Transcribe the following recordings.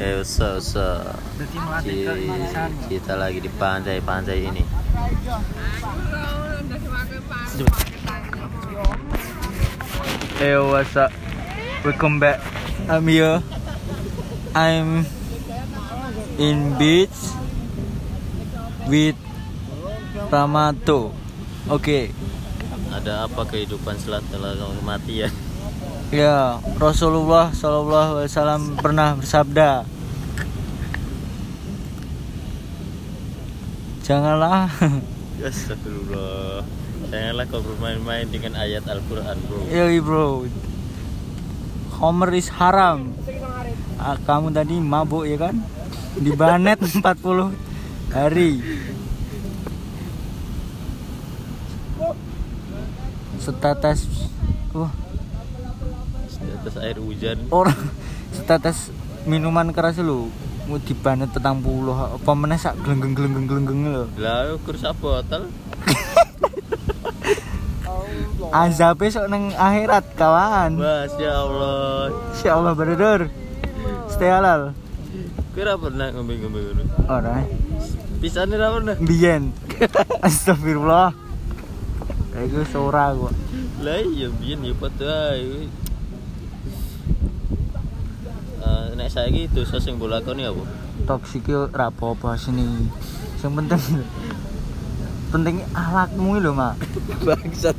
Eh, what's up, what's up? Berarti melatih Ci- ke keisan. Kita lagi di pantai-pantai ini. Hey, what's up? Welcome back. I'm here. I'm in beach with Ramato. Oke, Ada apa kehidupan setelah kematian? ya Rasulullah Shallallahu Alaihi Wasallam pernah bersabda, janganlah Astagfirullah. Janganlah kau bermain-main dengan ayat Al-Quran, bro. Yoi bro Homer is haram Ah, Kamu tadi mabuk ya kan Dibanet 40 hari Setatas uh, Di atas air hujan. Orang Setatas minuman keras lu Mau dibanet petang puluh Apa meneh sak gelenggeng gelenggeng gelenggeng lo Lah, kurus apa, tal? Azabnya sok neng akhirat kawan Masya Allah. Insya Allah brother Stay halal Kira pernah ngombe-ngombe ngono. Alright Pisane ra pernah. Biyen. Astagfirullah. Kayak gue sora gua. Lah iya biyen ya padha ae. Eh, nek saiki dosa sing mbok lakoni apa? Toksik yo ra apa-apa sini. Yang penting pentingnya akhlakmu lho, Mak. Bangsat,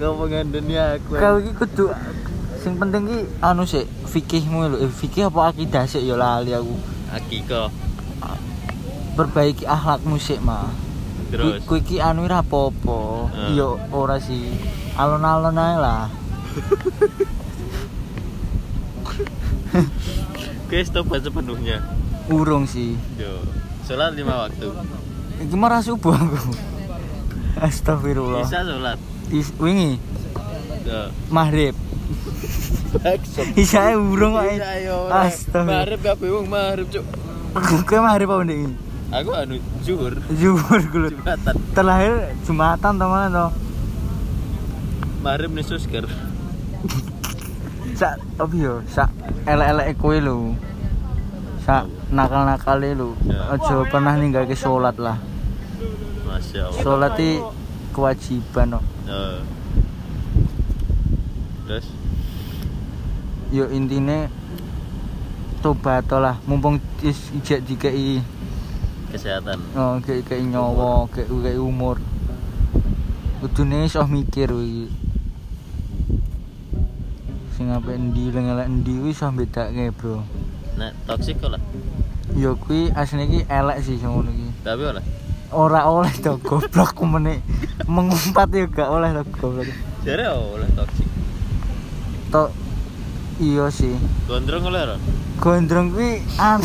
ngomong ngandani aku. Kau iki kudu sing penting ki anu sik fikihmu lho. Eh, fikih apa akidah sik yo lali aku. Akiko. Perbaiki akhlakmu sik, Mak. Terus. Kuwi- Kuwi ki anu ra apa-apa. Eh. Yo ora sih. Alon-alon ae lah. Guys, tobat sepenuhnya. Urung sih. Yo. Sholat lima waktu. Iki marah subuh aku. Astagfirullah. Bisa sholat. Is- wingi Yo. maghrib Bangsat. isae urung iya, kok astaga Marep kabeh ya, wong marep, Cuk. kowe maghrib apa ndek iki? Aku anu zuhur. zuhur kulit Jumatan. terlahir jumatan to mana to Marep nesus ker. sak opo yo sak elek-eleke kowe lho sak nakal-nakale lho Ya. aja pernah ninggalke salat lah Masya Allah. salat iki kewajiban kok Eh. Terus yo intine tobat lah mumpung is ijek dikei kesehatan. Oh, kayak kayak nyawa, kayak kayak umur. Kudune iso mikir kuwi. Sing apa endi lengelek endi kuwi iso bedake, Bro. Nek toksik kok lah. Ya kuwi asline iki elek sih sing ngono iki. Tapi oleh. Ora oleh to goblok kumene. Mengumpat ya gak oleh to goblok. Jare oleh toksik. Tok iya sih. Gondrong oleh ora? Gondrong kuwi an.